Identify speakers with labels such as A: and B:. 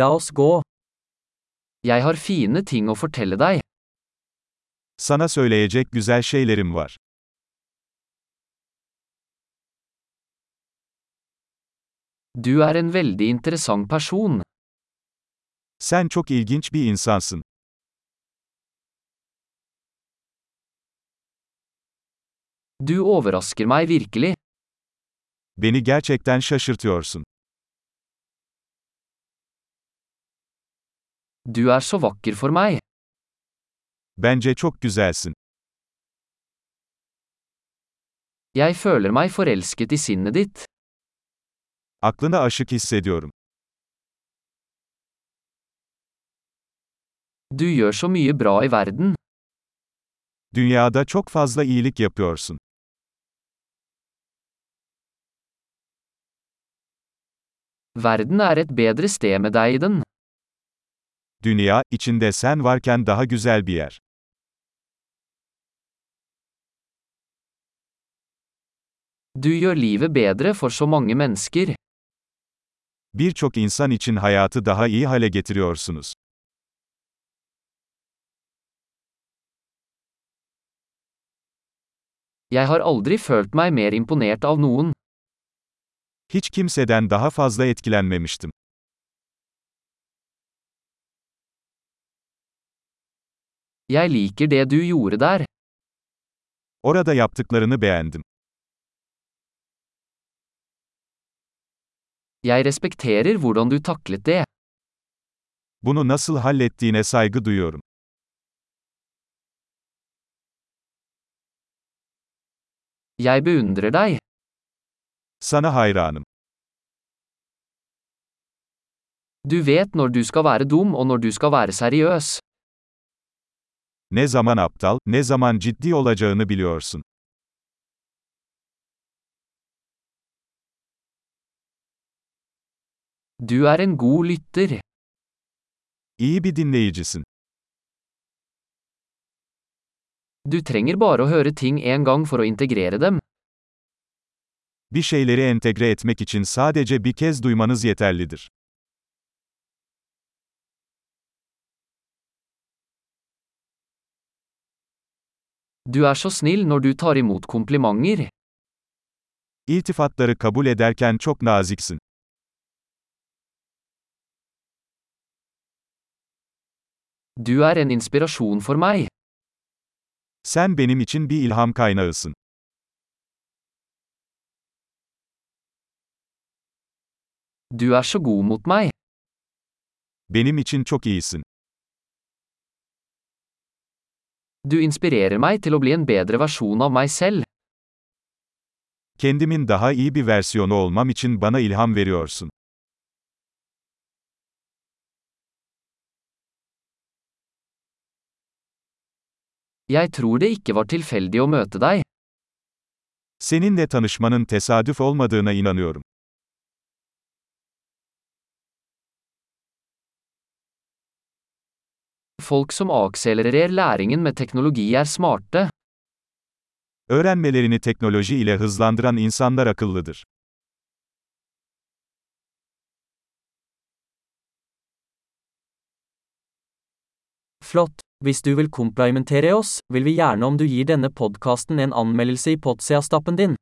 A: La oss gå. Jeg har fine ting å fortelle deg.
B: Sana söyleyecek güzel şeylerim var.
A: Du er en veldig interessant person.
B: Sen çok ilginç bir insansın.
A: Du overrasker meg virkelig.
B: Beni gerçekten şaşırtıyorsun.
A: Du er så vakker for meg.
B: Bence çok güzelsin.
A: Jeg føler meg forelsket i sinnet ditt.
B: Aklına aşık hissediyorum.
A: Du gjør så mye bra i verden.
B: Dünyada çok fazla iyilik yapıyorsun.
A: Verden er et bedre sted med deg i den.
B: Dünya, içinde sen varken daha güzel bir yer.
A: Du gjør livet bedre for så mange mennesker.
B: Birçok insan için hayatı daha iyi hale getiriyorsunuz.
A: Jeg har aldri følt meg mer imponert av noen.
B: Hiç kimseden daha fazla etkilenmemiştim.
A: Jeg liker det du gjorde der.
B: Orada yaptıklarını beğendim.
A: Jeg respekterer hvordan du taklet det.
B: Bunu nasıl hallettiğine saygı duyuyorum.
A: Jeg beundrer deg.
B: Sana hayranım.
A: Du vet når du skal være dum og når du skal være seriøs.
B: Ne zaman aptal, ne zaman ciddi olacağını biliyorsun.
A: Du er en god lytter.
B: İyi bir dinleyicisin.
A: Du trenger bare å høre ting en gang for å integrere dem.
B: Bir şeyleri entegre etmek için sadece bir kez duymanız yeterlidir.
A: Du er så snill når du tar imot komplimenter.
B: İltifatları kabul ederken çok naziksin.
A: Du er en inspirasjon for meg.
B: Sen benim için bir ilham kaynağısın.
A: Du er så god mot meg.
B: Benim için çok iyisin.
A: Du inspirerer meg til å bli en bedre versjon av meg selv.
B: Kendimin daha iyi bir versiyonu olmam için bana ilham veriyorsun.
A: Jeg tror det ikke var tilfeldig å møte deg.
B: Seninle tanışmanın tesadüf olmadığına inanıyorum.
A: Folk som akselererer læringen med teknologi er smarte.
B: Öğrenmelerini teknoloji ile hızlandıran insanlar akıllıdır.
C: Flott. Hvis du vil komplimentere oss, vil vi gjerne om du gir denne podkasten en anmeldelse i Podseastappen din.